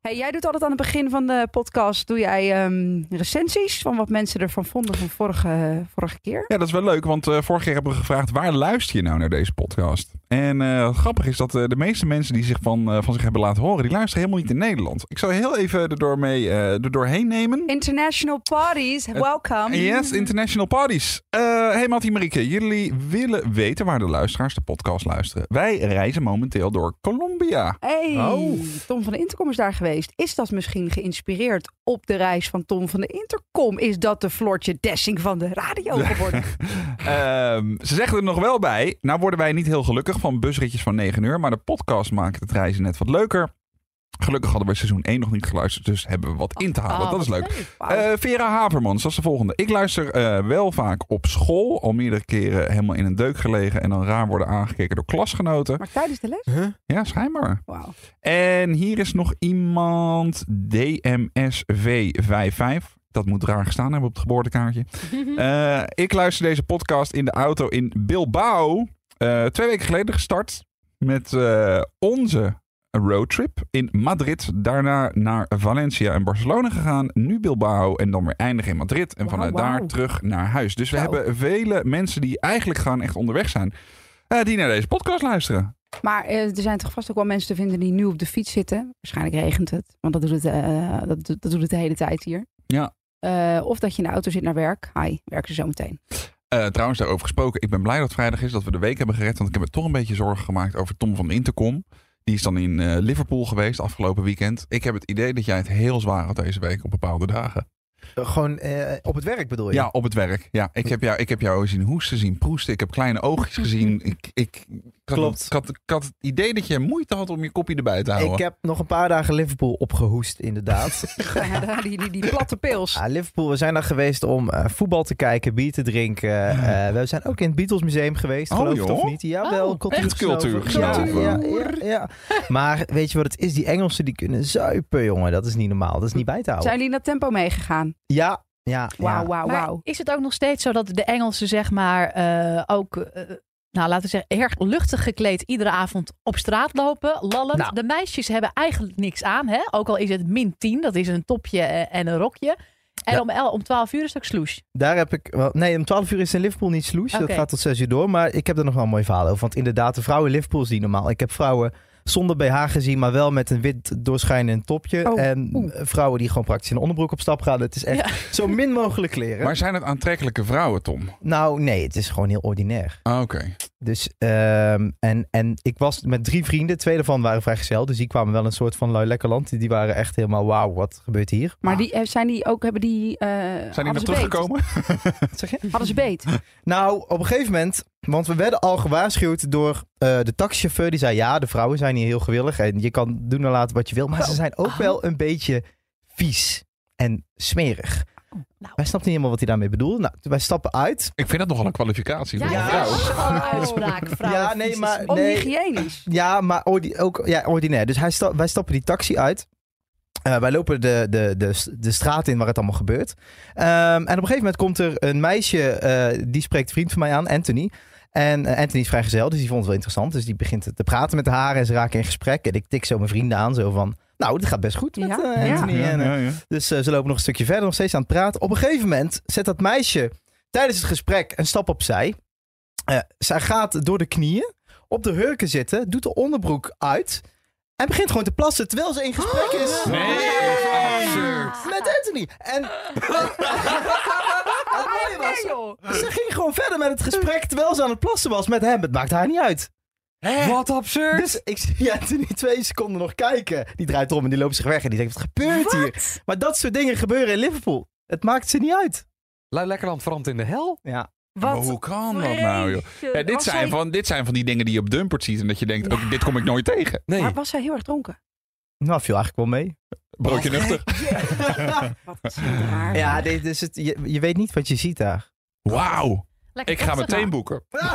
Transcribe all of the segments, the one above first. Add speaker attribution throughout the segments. Speaker 1: Hey, jij doet altijd aan het begin van de podcast doe jij ehm, recensies van wat mensen ervan vonden van vorige, vorige keer.
Speaker 2: Ja, dat is wel leuk, want eh, vorige keer hebben we gevraagd waar luister je nou naar deze podcast? En eh, grappig is dat eh, de meeste mensen die zich van, eh, van zich hebben laten horen, die luisteren helemaal niet in Nederland. Ik zal heel even erdoor mee, eh, er doorheen nemen.
Speaker 1: International parties, welcome.
Speaker 2: Eh, Yes, international parties. Eh hey Mattie Marieke, jullie willen weten waar de luisteraars de podcast luisteren. Wij reizen momenteel door Colombia.
Speaker 1: Hey,
Speaker 2: Oh.
Speaker 1: Tom van de Intercom is daar geweest. Is dat misschien geïnspireerd op de reis van Tom van de Intercom? Is dat de Floortje Dessing van de radio geworden?
Speaker 2: Ehm, ze zeggen er nog wel bij, nou worden wij niet heel gelukkig van busritjes van 9 uur, maar de podcast maakt het reizen net wat leuker. Gelukkig hadden we seizoen 1 nog niet geluisterd, dus hebben we wat in te halen.
Speaker 1: Ah,
Speaker 2: dat is
Speaker 1: wat
Speaker 2: leuk.
Speaker 1: Wauw.
Speaker 2: Eh, Vera Havermans, dat is de volgende. Ik luister eh, wel vaak op school, al meerdere keren helemaal in een deuk gelegen en dan raar worden aangekeken door klasgenoten.
Speaker 1: maar tijdens de les?
Speaker 2: Ja, schijnbaar.
Speaker 1: Wauw.
Speaker 2: En hier is nog iemand. DMSV55. Dat moet raar gestaan hebben op het geboortekaartje.
Speaker 1: Mhm.
Speaker 2: Eh, ik luister deze podcast in de auto in Bilbao. Eh, twee weken geleden gestart met eh, onze roadtrip in Madrid. Daarna naar Valencia en Barcelona gegaan. Nu Bilbao en dan weer eindigen in Madrid. En
Speaker 1: Wauw,
Speaker 2: vanuit
Speaker 1: wauw.
Speaker 2: daar terug naar huis. Dus we
Speaker 1: Zo.
Speaker 2: hebben vele mensen die eigenlijk gewoon echt onderweg zijn. eh, die naar deze podcast luisteren.
Speaker 1: Maar eh, er zijn toch vast ook wel mensen te vinden die nu op de fiets zitten. Waarschijnlijk regent het, want dat doet het, eh, dat, doet- dat doet het de hele tijd hier.
Speaker 2: Ja.
Speaker 1: Eh, of dat je in de auto zit naar werk. Hi, werken ze zo meteen.
Speaker 2: Eh, trouwens, daarover gesproken. Ik ben blij dat het vrijdag is dat we de week hebben gered. Want ik heb me toch een beetje zorgen gemaakt over Tom van de Intercom. Die is dan in eh, Liverpool geweest afgelopen weekend. Ik heb het idee dat jij het heel zwaar had deze week op bepaalde dagen.
Speaker 3: Gewoon eh, op het werk bedoel je?
Speaker 2: Ja, op het werk. Ja, ik heb jou, ik heb jou zien hoesten, zien proesten. Ik heb kleine oogjes gezien. Ik, ik, ik had-
Speaker 3: Klopt.
Speaker 2: Ik had, ik had het idee dat je moeite had om je kopje erbij te houden.
Speaker 3: Ik heb nog een paar dagen Liverpool opgehoest, inderdaad.
Speaker 1: die, die, die platte pils.
Speaker 3: Ah, Liverpool, we zijn daar geweest om eh, voetbal te kijken, bier te drinken. Eh, we zijn ook in het Beatles Museum geweest,
Speaker 2: Oh,
Speaker 3: geloof je het
Speaker 2: joh.
Speaker 3: of niet? Ja, wel.
Speaker 4: Oh,
Speaker 3: Cultuur
Speaker 2: echt cultuur
Speaker 3: gesnoven. Ja,
Speaker 1: gesnoven.
Speaker 3: ja, ja, ja. Maar weet je wat het is? Die Engelsen die kunnen zuipen, jongen. Dat is niet normaal. Dat is niet bij te houden.
Speaker 1: Zijn jullie in dat tempo meegegaan?
Speaker 3: Ja, ja.
Speaker 1: Wauw,
Speaker 3: ja.
Speaker 1: wauw,
Speaker 4: Maar
Speaker 1: wauw.
Speaker 4: is het ook nog steeds zo dat de Engelsen, zeg maar, eh, ook, eh, nou laten we zeggen, erg luchtig gekleed iedere avond op straat lopen, lallend?
Speaker 3: Nou.
Speaker 4: De meisjes hebben eigenlijk niks aan, hè? Ook al is het min 10, dat is een topje eh, en een rokje. En
Speaker 3: Ja.
Speaker 4: om, el- om 12 uur is het ook sloes.
Speaker 3: Daar heb ik. wel- Nee, om 12 uur is in Liverpool niet sloes.
Speaker 4: Oké.
Speaker 3: Dat gaat tot 6 uur door. Maar ik heb er nog wel een mooi verhaal over. Want inderdaad, de vrouwen in Liverpool is niet normaal. Ik heb vrouwen zonder BH gezien, maar wel met een wit doorschijnend topje.
Speaker 1: Oh,
Speaker 3: en
Speaker 1: oeh.
Speaker 3: vrouwen die gewoon praktisch in een onderbroek op stap gaan. Het is echt zo min mogelijk kleren.
Speaker 2: Maar zijn het aantrekkelijke vrouwen, Tom?
Speaker 3: Nou, nee, het is gewoon heel ordinair.
Speaker 2: Ah, Oké.
Speaker 3: Dus, ehm, en, en ik was met drie vrienden. Twee daarvan waren vrijgezel. Dus die kwamen wel een soort van lui lekker land. Die waren echt helemaal, wauw, wat gebeurt hier?
Speaker 1: Maar die, eh, zijn die ook, hebben die... eh hadden ze
Speaker 2: Ah. Zijn die nog
Speaker 1: beet?
Speaker 2: teruggekomen?
Speaker 3: Wat zeg je?
Speaker 1: Hadden ze beet?
Speaker 3: Nou, op een gegeven moment, want we werden al gewaarschuwd door eh, de taxichauffeur. Die zei, ja, de vrouwen zijn hier heel gewillig en je kan doen en laten wat je wil. Maar ze zijn ook
Speaker 4: Oh.
Speaker 3: wel een beetje vies en smerig.
Speaker 4: nou.
Speaker 3: Wij snapten niet helemaal wat hij daarmee bedoelde. Nou, wij stappen uit.
Speaker 2: Ik vind dat nogal een kwalificatie. voor een
Speaker 3: ja.
Speaker 2: vrouw.
Speaker 4: Oh, uitspraak, vrouw.
Speaker 3: Ja, nee,
Speaker 4: vies.
Speaker 3: maar-
Speaker 4: Oh,
Speaker 1: Onhygiënisch.
Speaker 3: Ja, maar ordi- ook ja, ordinair. Dus hij sta- wij stappen die taxi uit. Eh, wij lopen de, de, de, de straat in waar het allemaal gebeurt. Ehm, en op een gegeven moment komt er een meisje, eh, die spreekt vriend van mij aan, Anthony. En eh, Anthony is vrijgezel, dus die vond het wel interessant. Dus die begint te praten met haar en ze raken in gesprek. En ik tik zo mijn vrienden aan, zo van, nou, dit gaat best goed met
Speaker 1: Ja,
Speaker 3: eh,
Speaker 1: ja.
Speaker 3: Anthony. En, eh, dus eh, ze lopen nog een stukje verder, nog steeds aan het praten. Op een gegeven moment zet dat meisje tijdens het gesprek een stap opzij. Eh, zij gaat door de knieën, op de hurken zitten, doet de onderbroek uit. En begint gewoon te plassen terwijl ze in gesprek is.
Speaker 2: Oh, Nee, absurd.
Speaker 3: Met Anthony. En. Het mooie was, Ze ging gewoon verder met het gesprek terwijl ze aan het plassen was met hem. Het maakt haar niet uit.
Speaker 1: Wat absurd.
Speaker 3: Dus ik zie Anthony twee seconden nog kijken. Die draait om en die loopt zich weg. En die denkt: wat gebeurt hier? Maar dat soort dingen gebeuren in Liverpool. Het maakt ze niet uit.
Speaker 5: Lui Lekkerland verandert in de hel.
Speaker 3: Ja.
Speaker 2: Maar hoe kan dat nou, joh?
Speaker 1: vreselijk.
Speaker 2: Ja, dit,
Speaker 1: Was
Speaker 2: zijn
Speaker 1: hij-
Speaker 2: van, dit zijn van die dingen die je op Dumpert ziet en dat je denkt,
Speaker 1: Ja.
Speaker 2: oh, dit kom ik nooit tegen.
Speaker 5: Nee.
Speaker 1: Maar was zij heel erg dronken?
Speaker 3: Nou, viel eigenlijk wel mee.
Speaker 2: Broodje nuchter.
Speaker 1: Wat is dit raar.
Speaker 3: ja, dit is het, je, je weet niet wat je ziet daar.
Speaker 2: Wauw,
Speaker 4: Lekker
Speaker 2: ik ga
Speaker 4: kopzak,
Speaker 2: meteen
Speaker 4: man.
Speaker 2: boeken.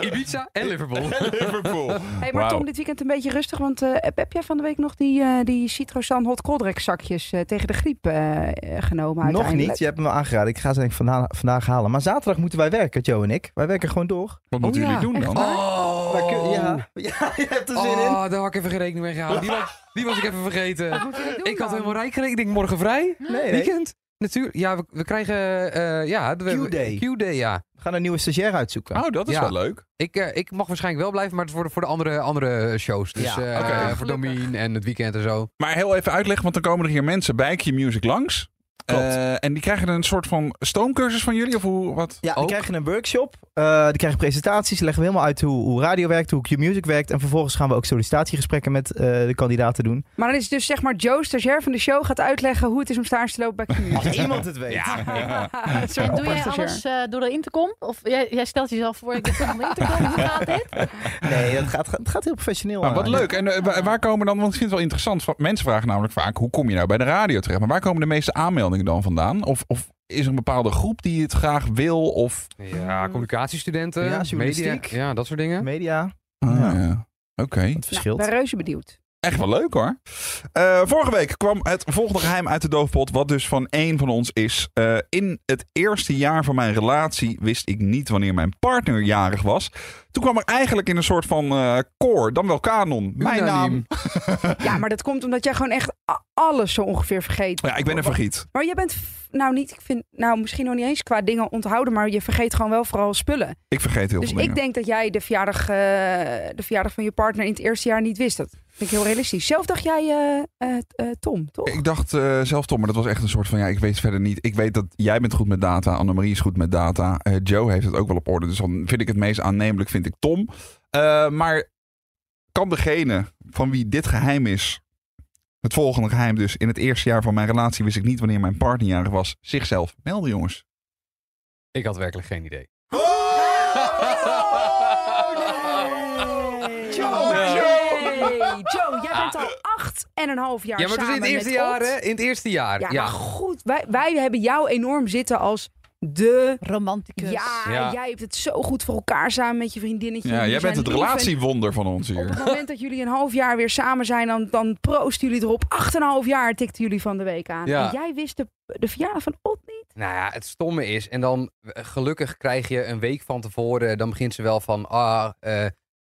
Speaker 5: Ibiza en Liverpool. Oh.
Speaker 2: Liverpool.
Speaker 1: Hey, maar
Speaker 2: Wauw.
Speaker 1: Tom, dit weekend een beetje rustig, want eh, heb- heb jij van de week nog die, eh die Citroën Hot Coldrek zakjes eh, tegen de griep eh, eh, genomen
Speaker 3: Nog
Speaker 1: uiteindelijk?
Speaker 3: niet, je hebt me aangeraden. Ik ga ze denk ik vanda- vandaag halen. Maar zaterdag moeten wij werken, Joe en ik. Wij werken gewoon door.
Speaker 2: Wat moeten
Speaker 1: Oh, ja.
Speaker 2: jullie doen dan?
Speaker 1: Echt waar?
Speaker 5: Oh,
Speaker 3: Maar kun- ja. ja, je hebt er zin in.
Speaker 5: Oh, daar had ik even geen rekening mee gehouden. Die was, die was ik even vergeten.
Speaker 1: Moeten we dat doen
Speaker 5: Ik had
Speaker 1: dan?
Speaker 5: helemaal rijk gerekend. Ik denk, morgen vrij.
Speaker 3: Nee, nee.
Speaker 5: Weekend. Natuurlijk. Ja, we, we krijgen... eh, ja, we-
Speaker 3: Q-day.
Speaker 5: Q-day, ja.
Speaker 3: We gaan een nieuwe stagiair uitzoeken.
Speaker 2: Oh, dat is
Speaker 5: Ja.
Speaker 2: wel leuk.
Speaker 5: Ik, eh, ik mag waarschijnlijk wel blijven, maar het voor de, voor de andere, andere shows. Dus
Speaker 3: Ja.
Speaker 5: eh,
Speaker 2: Oké.
Speaker 5: voor Domien en het weekend en zo.
Speaker 2: Maar heel even uitleggen, want dan komen er hier mensen bij Q Music langs.
Speaker 3: Klopt.
Speaker 2: Eh, en die krijgen een soort van stoomcursus van jullie? Of hoe, wat?
Speaker 3: Ja,
Speaker 5: Ook?
Speaker 3: dan krijg je een workshop. eh dan krijg je presentaties. Dan leggen we helemaal uit hoe, hoe radio werkt, hoe Q-Music werkt. En vervolgens gaan we ook sollicitatiegesprekken met eh, de kandidaten doen.
Speaker 1: Maar dan is het dus zeg maar Joe, stagiair van de show, gaat uitleggen hoe het is om stage te lopen bij Q.
Speaker 3: Als iemand het weet.
Speaker 1: Een soort
Speaker 4: En doe jij
Speaker 1: opperstagiair.
Speaker 4: alles eh, door de intercom? Of jij, jij stelt jezelf voor, ik doe de intercom, hoe gaat dit?
Speaker 3: Nee, het gaat, het gaat heel professioneel.
Speaker 1: Oh,
Speaker 2: Maar wat
Speaker 3: aan.
Speaker 2: leuk. En eh, wa- waar komen dan, want ik vind het wel interessant. van- Mensen vragen namelijk vaak, hoe kom je nou bij de radio terecht? Maar waar komen de meeste aanmeldingen dan vandaan? Of, of is er een bepaalde groep die het graag wil? Of,
Speaker 5: Ja, communicatiestudenten,
Speaker 3: Ja,
Speaker 5: media.
Speaker 3: journalistiek.
Speaker 5: Ja, dat soort dingen.
Speaker 3: Media,
Speaker 2: Ah,
Speaker 3: Ja.
Speaker 2: ja. Oké,
Speaker 3: het
Speaker 1: Nou,
Speaker 3: verschilt.
Speaker 1: ben reuze benieuwd.
Speaker 2: echt wel leuk hoor. Eh, vorige week kwam het volgende geheim uit de doofpot, wat dus van één van ons is. Eh, in het eerste jaar van mijn relatie wist ik niet wanneer mijn partner jarig was. Toen kwam er eigenlijk in een soort van eh koor, dan wel kanon, mijn
Speaker 5: Unaniem.
Speaker 2: naam.
Speaker 1: Ja, maar dat komt omdat jij gewoon echt a- alles zo ongeveer vergeet.
Speaker 2: Ja, ik ben een vergiet.
Speaker 1: Maar jij bent, f- nou niet, ik vind, nou misschien nog niet eens qua dingen onthouden, maar je vergeet gewoon wel vooral spullen.
Speaker 2: Ik vergeet heel
Speaker 1: Dus
Speaker 2: veel dingen.
Speaker 1: ik denk dat jij de verjaardag, eh, de verjaardag van je partner in het eerste jaar niet wist. Dat vind ik heel realistisch. Zelf dacht jij eh, eh, eh, Tom, toch?
Speaker 2: Ik dacht eh, zelf, Tom, maar dat was echt een soort van... Ja, ik weet verder niet. Ik weet dat jij bent goed met data. Annemarie is goed met data. eh, Joe heeft het ook wel op orde. Dus dan vind ik het meest aannemelijk, vind ik Tom. Eh, maar kan degene van wie dit geheim is... Het volgende geheim dus. In het eerste jaar van mijn relatie wist ik niet wanneer mijn partner jarig was. Zichzelf melden, jongens.
Speaker 5: Ik had werkelijk geen idee.
Speaker 1: Joe,
Speaker 5: Ja.
Speaker 1: nee. Joe, jij bent al acht en een half jaar
Speaker 5: Ja, maar het is
Speaker 1: samen
Speaker 5: in het
Speaker 1: met
Speaker 5: eerste jaar,
Speaker 1: Ot.
Speaker 5: hè? In het eerste jaar.
Speaker 1: Ja,
Speaker 5: Ja,
Speaker 1: maar goed. Wij, wij hebben jou enorm zitten als de...
Speaker 4: Romanticus.
Speaker 1: Ja,
Speaker 5: Ja.
Speaker 1: jij hebt het zo goed voor elkaar samen met je vriendinnetje.
Speaker 2: Ja,
Speaker 1: Jullie
Speaker 2: jij
Speaker 1: zijn
Speaker 2: bent het
Speaker 1: lief en
Speaker 2: relatiewonder van ons
Speaker 1: Op
Speaker 2: hier.
Speaker 1: het moment dat jullie een half jaar weer samen zijn, dan, dan proosten jullie erop. Acht en een half jaar tikten jullie van de week aan.
Speaker 5: Ja.
Speaker 1: En jij wist de, de verjaardag van Ot niet.
Speaker 5: Nou ja, het stomme is, en dan eh, gelukkig krijg je een week van tevoren, dan begint ze wel van, ah, eh,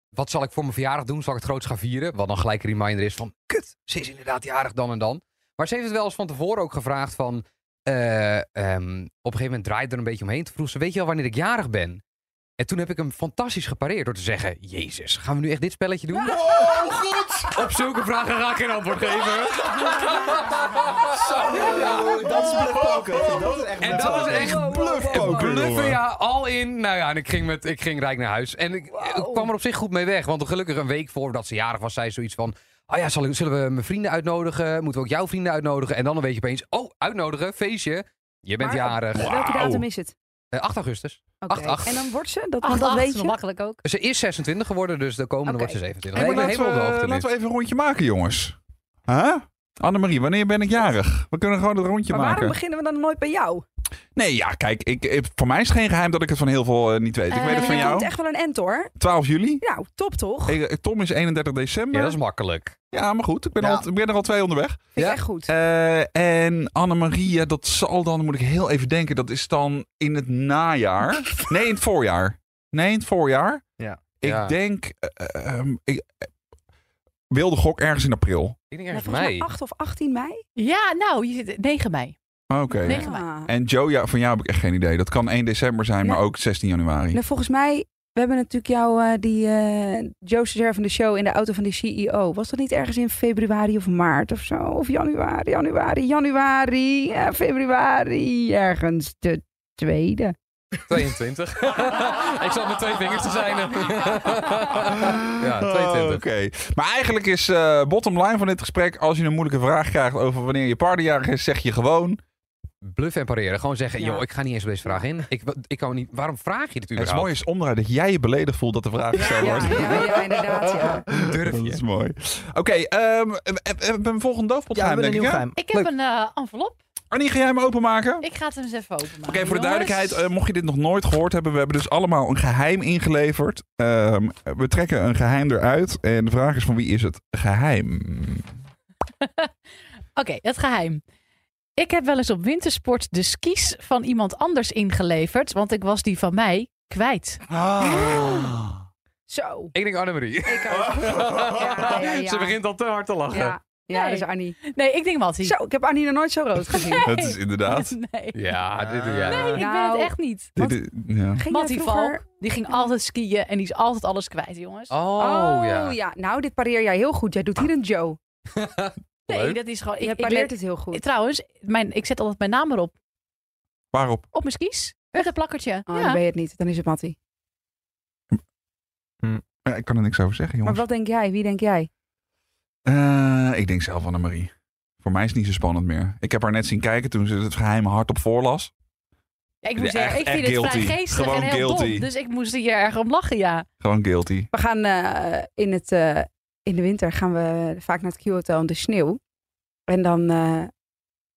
Speaker 5: wat zal ik voor mijn verjaardag doen? Zal ik het groot gaan vieren? Wat dan gelijk een reminder is van, kut, ze is inderdaad jarig dan en dan. Maar ze heeft het wel eens van tevoren ook gevraagd van, eh, ehm, op een gegeven moment draait er een beetje omheen. Toen vroeg ze, weet je wel wanneer ik jarig ben? En toen heb ik hem fantastisch gepareerd door te zeggen, jezus, gaan we nu echt dit spelletje doen?
Speaker 2: Oh, goed!
Speaker 5: Op zulke vragen ga ik geen antwoord geven.
Speaker 3: Dat is bluffpoker. Dat is echt
Speaker 5: En dat is echt
Speaker 2: Bluffpoker,
Speaker 5: Bluffen,
Speaker 2: jongen.
Speaker 5: ja, al in. Nou ja, en ik ging, met, ik ging rijk naar huis. En ik, ik kwam er op zich goed mee weg. Want gelukkig een week voordat ze jarig was, zei ze zoiets van... Oh ja, zal ik- zullen we mijn vrienden uitnodigen? Moeten we ook jouw vrienden uitnodigen? En dan een beetje opeens... Oh, uitnodigen, feestje. Je bent
Speaker 1: Maar-
Speaker 5: jarig.
Speaker 1: Welke datum is het?
Speaker 5: Eh, 8 augustus.
Speaker 1: Oké.
Speaker 5: Acht, acht.
Speaker 1: En dan wordt ze, dat,
Speaker 4: Ach,
Speaker 1: want dat
Speaker 4: dat
Speaker 1: weet je.
Speaker 4: makkelijk ook.
Speaker 5: Ze is 26 geworden, dus de komende
Speaker 1: Oké.
Speaker 5: wordt ze 27.
Speaker 2: Hey,
Speaker 5: Nee,
Speaker 2: maar
Speaker 5: ik ben
Speaker 2: laten,
Speaker 5: helemaal op de
Speaker 2: we,
Speaker 5: hoogte nu.
Speaker 2: laten we even een rondje maken, jongens. Huh? Annemarie, wanneer ben ik jarig? We kunnen gewoon een rondje
Speaker 1: Maar waarom
Speaker 2: maken.
Speaker 1: beginnen we dan nooit bij jou?
Speaker 2: Nee, ja, kijk, ik, ik- voor mij is het geen geheim dat ik het van heel veel eh, niet weet. Ik
Speaker 4: Eh,
Speaker 2: weet het
Speaker 4: ja,
Speaker 2: van
Speaker 1: Er komt
Speaker 2: jou.
Speaker 1: echt wel een end hoor.
Speaker 2: 12 juli.
Speaker 1: Nou, top toch? Vind
Speaker 2: Ik- eh, Tom is 31 december.
Speaker 5: Ja,
Speaker 2: Ja,
Speaker 5: dat is makkelijk.
Speaker 2: maar goed, ik ben,
Speaker 3: Ja.
Speaker 2: al, ik ben er al twee onderweg.
Speaker 1: ik
Speaker 5: Ja.
Speaker 1: echt goed.
Speaker 2: Eh, en Annemarie, ja, dat zal dan, moet ik heel even denken, dat is dan in het najaar. Nee, in het voorjaar. Nee, in het voorjaar.
Speaker 3: Ja.
Speaker 2: Ik
Speaker 5: Ja.
Speaker 2: denk, eh, ehm, ik, eh, wilde gok ergens in april.
Speaker 5: Ik denk
Speaker 1: Nou,
Speaker 5: ergens
Speaker 1: volgens mij
Speaker 5: mei.
Speaker 1: 8 of 18 mei.
Speaker 4: Ja, nou, je zit- 9 mei.
Speaker 2: Oké.
Speaker 4: Nee,
Speaker 1: Ah.
Speaker 2: En Joe, ja, van jou heb ik echt geen idee. Dat kan 1 december zijn, maar
Speaker 1: Nee.
Speaker 2: ook 16 januari.
Speaker 1: Nou, volgens mij, we hebben natuurlijk jou, eh, die eh Joe Cesar van de show in de auto van de CEO. Was dat niet ergens in februari of maart of zo? Of januari, januari, januari, eh, februari, ergens de tweede.
Speaker 5: 22. ik zat met twee vingers te zijn. ja, 22.
Speaker 2: Oh, Oké. Maar eigenlijk is eh bottom line van dit gesprek... als je een moeilijke vraag krijgt over wanneer je partnerjarig is... zeg je gewoon...
Speaker 5: Bluff en pareren. Gewoon zeggen,
Speaker 1: Ja.
Speaker 5: joh, ik ga niet eens op deze vraag in. Ik, ik kan niet, waarom vraag je dit
Speaker 2: Het
Speaker 5: überhaupt?
Speaker 2: mooie is omdraaien dat jij je beledigd voelt dat de vraag gesteld
Speaker 1: Ja,
Speaker 2: wordt.
Speaker 1: ja, ja, inderdaad. Ja.
Speaker 5: Durf
Speaker 2: Dat
Speaker 5: je?
Speaker 2: is mooi. Oké, ehm, we we hebben een volgende
Speaker 3: Ja, we
Speaker 2: doofpotgeheim,
Speaker 3: hebben een
Speaker 2: denk
Speaker 3: nieuw
Speaker 2: ik. hè?
Speaker 3: geheim.
Speaker 4: Ik heb
Speaker 2: Leuk.
Speaker 4: een eh, envelop.
Speaker 2: Arnie, ga jij hem openmaken?
Speaker 4: Ik ga het hem eens even openmaken.
Speaker 2: Oké, voor de
Speaker 4: jongens.
Speaker 2: duidelijkheid, eh, mocht je dit nog nooit gehoord hebben, we hebben dus allemaal een geheim ingeleverd. Ehm, we trekken een geheim eruit en de vraag is van wie is het geheim?
Speaker 4: Oké, het geheim. Ik heb wel eens op wintersport de skis van
Speaker 1: Ah.
Speaker 4: iemand anders ingeleverd, want ik was die van mij kwijt.
Speaker 1: Zo.
Speaker 5: Ik denk Annemarie.
Speaker 1: Ik ook. Ja, ja, ja.
Speaker 5: Ze begint al te hard te lachen.
Speaker 1: Ja, ja
Speaker 4: Nee.
Speaker 1: dat is Annie.
Speaker 4: Nee, ik denk Mattie.
Speaker 1: Zo, ik heb Annie nog nooit zo rood gezien.
Speaker 2: Dat is inderdaad.
Speaker 4: Nee,
Speaker 5: Ja, dit doe jij.
Speaker 4: nee ik ben
Speaker 1: Nou.
Speaker 4: het echt niet.
Speaker 2: Dit is- ja.
Speaker 1: Ging jij
Speaker 4: Mattie
Speaker 1: vroeger-
Speaker 4: Valk, die ging altijd skiën en die is altijd alles kwijt, jongens.
Speaker 5: Oh,
Speaker 1: Oh ja.
Speaker 5: ja. Ah.
Speaker 1: Nou, dit pareer jij heel goed. Jij doet hier een Joe.
Speaker 4: nee,
Speaker 5: leuk.
Speaker 4: dat is gewoon...
Speaker 1: Je
Speaker 4: Ik, ik
Speaker 1: pareert
Speaker 4: let-
Speaker 1: het heel goed.
Speaker 4: Trouwens, mijn, ik zet altijd mijn naam erop.
Speaker 2: Waarop?
Speaker 4: Op mijn skis. Met een plakkertje.
Speaker 1: Oh, dan
Speaker 4: ja.
Speaker 1: ben je het niet. Dan is het Mattie.
Speaker 2: Ja, ik kan er niks over zeggen,
Speaker 1: Maar
Speaker 2: jongens.
Speaker 1: wat denk jij? Wie denk jij?
Speaker 2: Eh, ik denk zelf Annemarie. Voor mij is het niet zo spannend meer. Ik heb haar net zien kijken toen ze het geheime hart op voorlas.
Speaker 4: Ja, ik moet
Speaker 2: Echt-
Speaker 4: zeggen, ik
Speaker 2: echt
Speaker 4: vind het vrij
Speaker 2: guilty.
Speaker 4: geestig
Speaker 2: Gewoon
Speaker 4: en heel
Speaker 2: guilty.
Speaker 4: dom. Dus ik moest hier erg om lachen, ja.
Speaker 2: Gewoon guilty.
Speaker 1: We gaan eh, in, het, eh, in de winter gaan we vaak naar het Q-hotel in de sneeuw. En dan eh,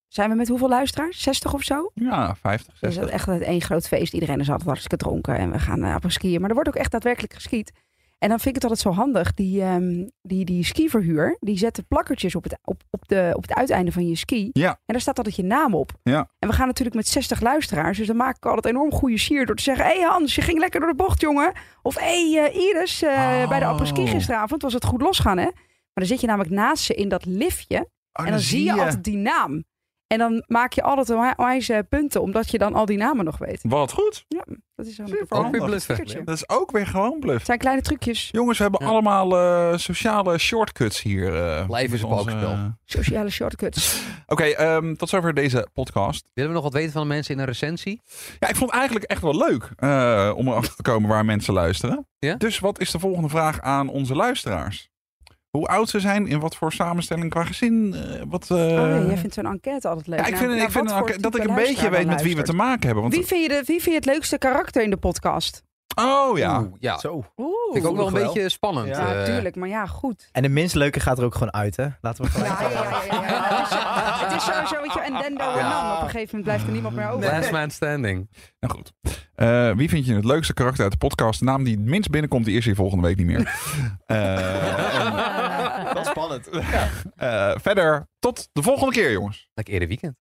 Speaker 1: zijn we met hoeveel luisteraars? 60 of zo?
Speaker 2: Ja, 50,
Speaker 1: Dus
Speaker 2: 60.
Speaker 1: dat is echt één groot feest. Iedereen is altijd hartstikke dronken en we gaan eh, op skiën. Maar er wordt ook echt daadwerkelijk geskiet. En dan vind ik het altijd zo handig. Die, ehm die, die skiverhuur, die zet de plakkertjes op het, op, op, de, op het uiteinde van je ski.
Speaker 2: Ja.
Speaker 1: En daar staat altijd je naam op.
Speaker 2: Ja.
Speaker 1: En we gaan natuurlijk met 60 luisteraars. Dus dan maak ik altijd enorm goede sier door te zeggen... Hé hey Hans, je ging lekker door de bocht, jongen. Of hé hey, eh, Iris, eh,
Speaker 2: Oh.
Speaker 1: bij de apperski gisteravond was het goed losgaan, hè? Maar dan zit je namelijk naast ze in dat liftje.
Speaker 2: Oh,
Speaker 1: En dan zie je altijd die naam. En dan maak je altijd een wij- wijze punten, omdat je dan al die namen nog weet.
Speaker 2: Wat goed.
Speaker 1: Dat is zo'n
Speaker 2: Super
Speaker 5: Ook weer
Speaker 2: handig.
Speaker 5: bluffen.
Speaker 1: stickertje.
Speaker 2: Dat is ook weer gewoon bluff.
Speaker 1: Het zijn kleine trucjes.
Speaker 2: Jongens, we hebben
Speaker 5: Ja.
Speaker 2: allemaal eh, sociale shortcuts hier. eh,
Speaker 5: Lijf is
Speaker 2: met
Speaker 5: een
Speaker 2: onze-
Speaker 5: balkenspel.
Speaker 1: Sociale shortcuts.
Speaker 2: Oké, ehm, tot zover deze podcast.
Speaker 5: Willen we nog wat weten van de mensen in een recensie?
Speaker 2: Ja, ik vond het eigenlijk echt wel leuk eh, om erachter te komen waar mensen luisteren.
Speaker 5: Ja?
Speaker 2: Dus wat is de volgende vraag aan onze luisteraars? Hoe oud ze zijn, in wat voor samenstelling qua gezin? eh, wat, eh,
Speaker 1: oh nee, jij vindt zo'n enquête altijd leuk.
Speaker 2: ja, ik
Speaker 1: Nou,
Speaker 2: vind,
Speaker 1: nou,
Speaker 2: ik vind
Speaker 1: wat
Speaker 2: een-
Speaker 1: voor
Speaker 2: dat ik
Speaker 1: type
Speaker 2: een beetje
Speaker 1: luisteraar
Speaker 2: weet
Speaker 1: dan
Speaker 2: met wie we te
Speaker 1: luistert.
Speaker 2: maken hebben. Want,
Speaker 1: Wie vind, je de, wie vind je het leukste karakter in de podcast?
Speaker 2: oh ja.
Speaker 5: Oeh, ja.
Speaker 3: Zo.
Speaker 1: Oeh.
Speaker 5: Vind ik ook wel een
Speaker 3: Oeh.
Speaker 5: beetje spannend.
Speaker 3: Ja,
Speaker 1: Ja,
Speaker 5: eh.
Speaker 1: tuurlijk. Maar ja, goed.
Speaker 3: En de minst leuke gaat er ook gewoon uit, hè? Laten we gelijk.
Speaker 1: Ja, ja, ja, ja, ja. Het is- Het is sowieso, weet je, en Dendo en
Speaker 5: Ja.
Speaker 1: Nan. Op een gegeven moment blijft er niemand meer over.
Speaker 5: Last man standing.
Speaker 2: Nou goed. Eh, wie vind je het leukste karakter uit de podcast? De naam die het minst binnenkomt, die is hier volgende week niet meer. Eh, en,
Speaker 3: Wel spannend.
Speaker 2: eh, verder, tot de volgende keer, jongens.
Speaker 5: Lekker eerder weekend.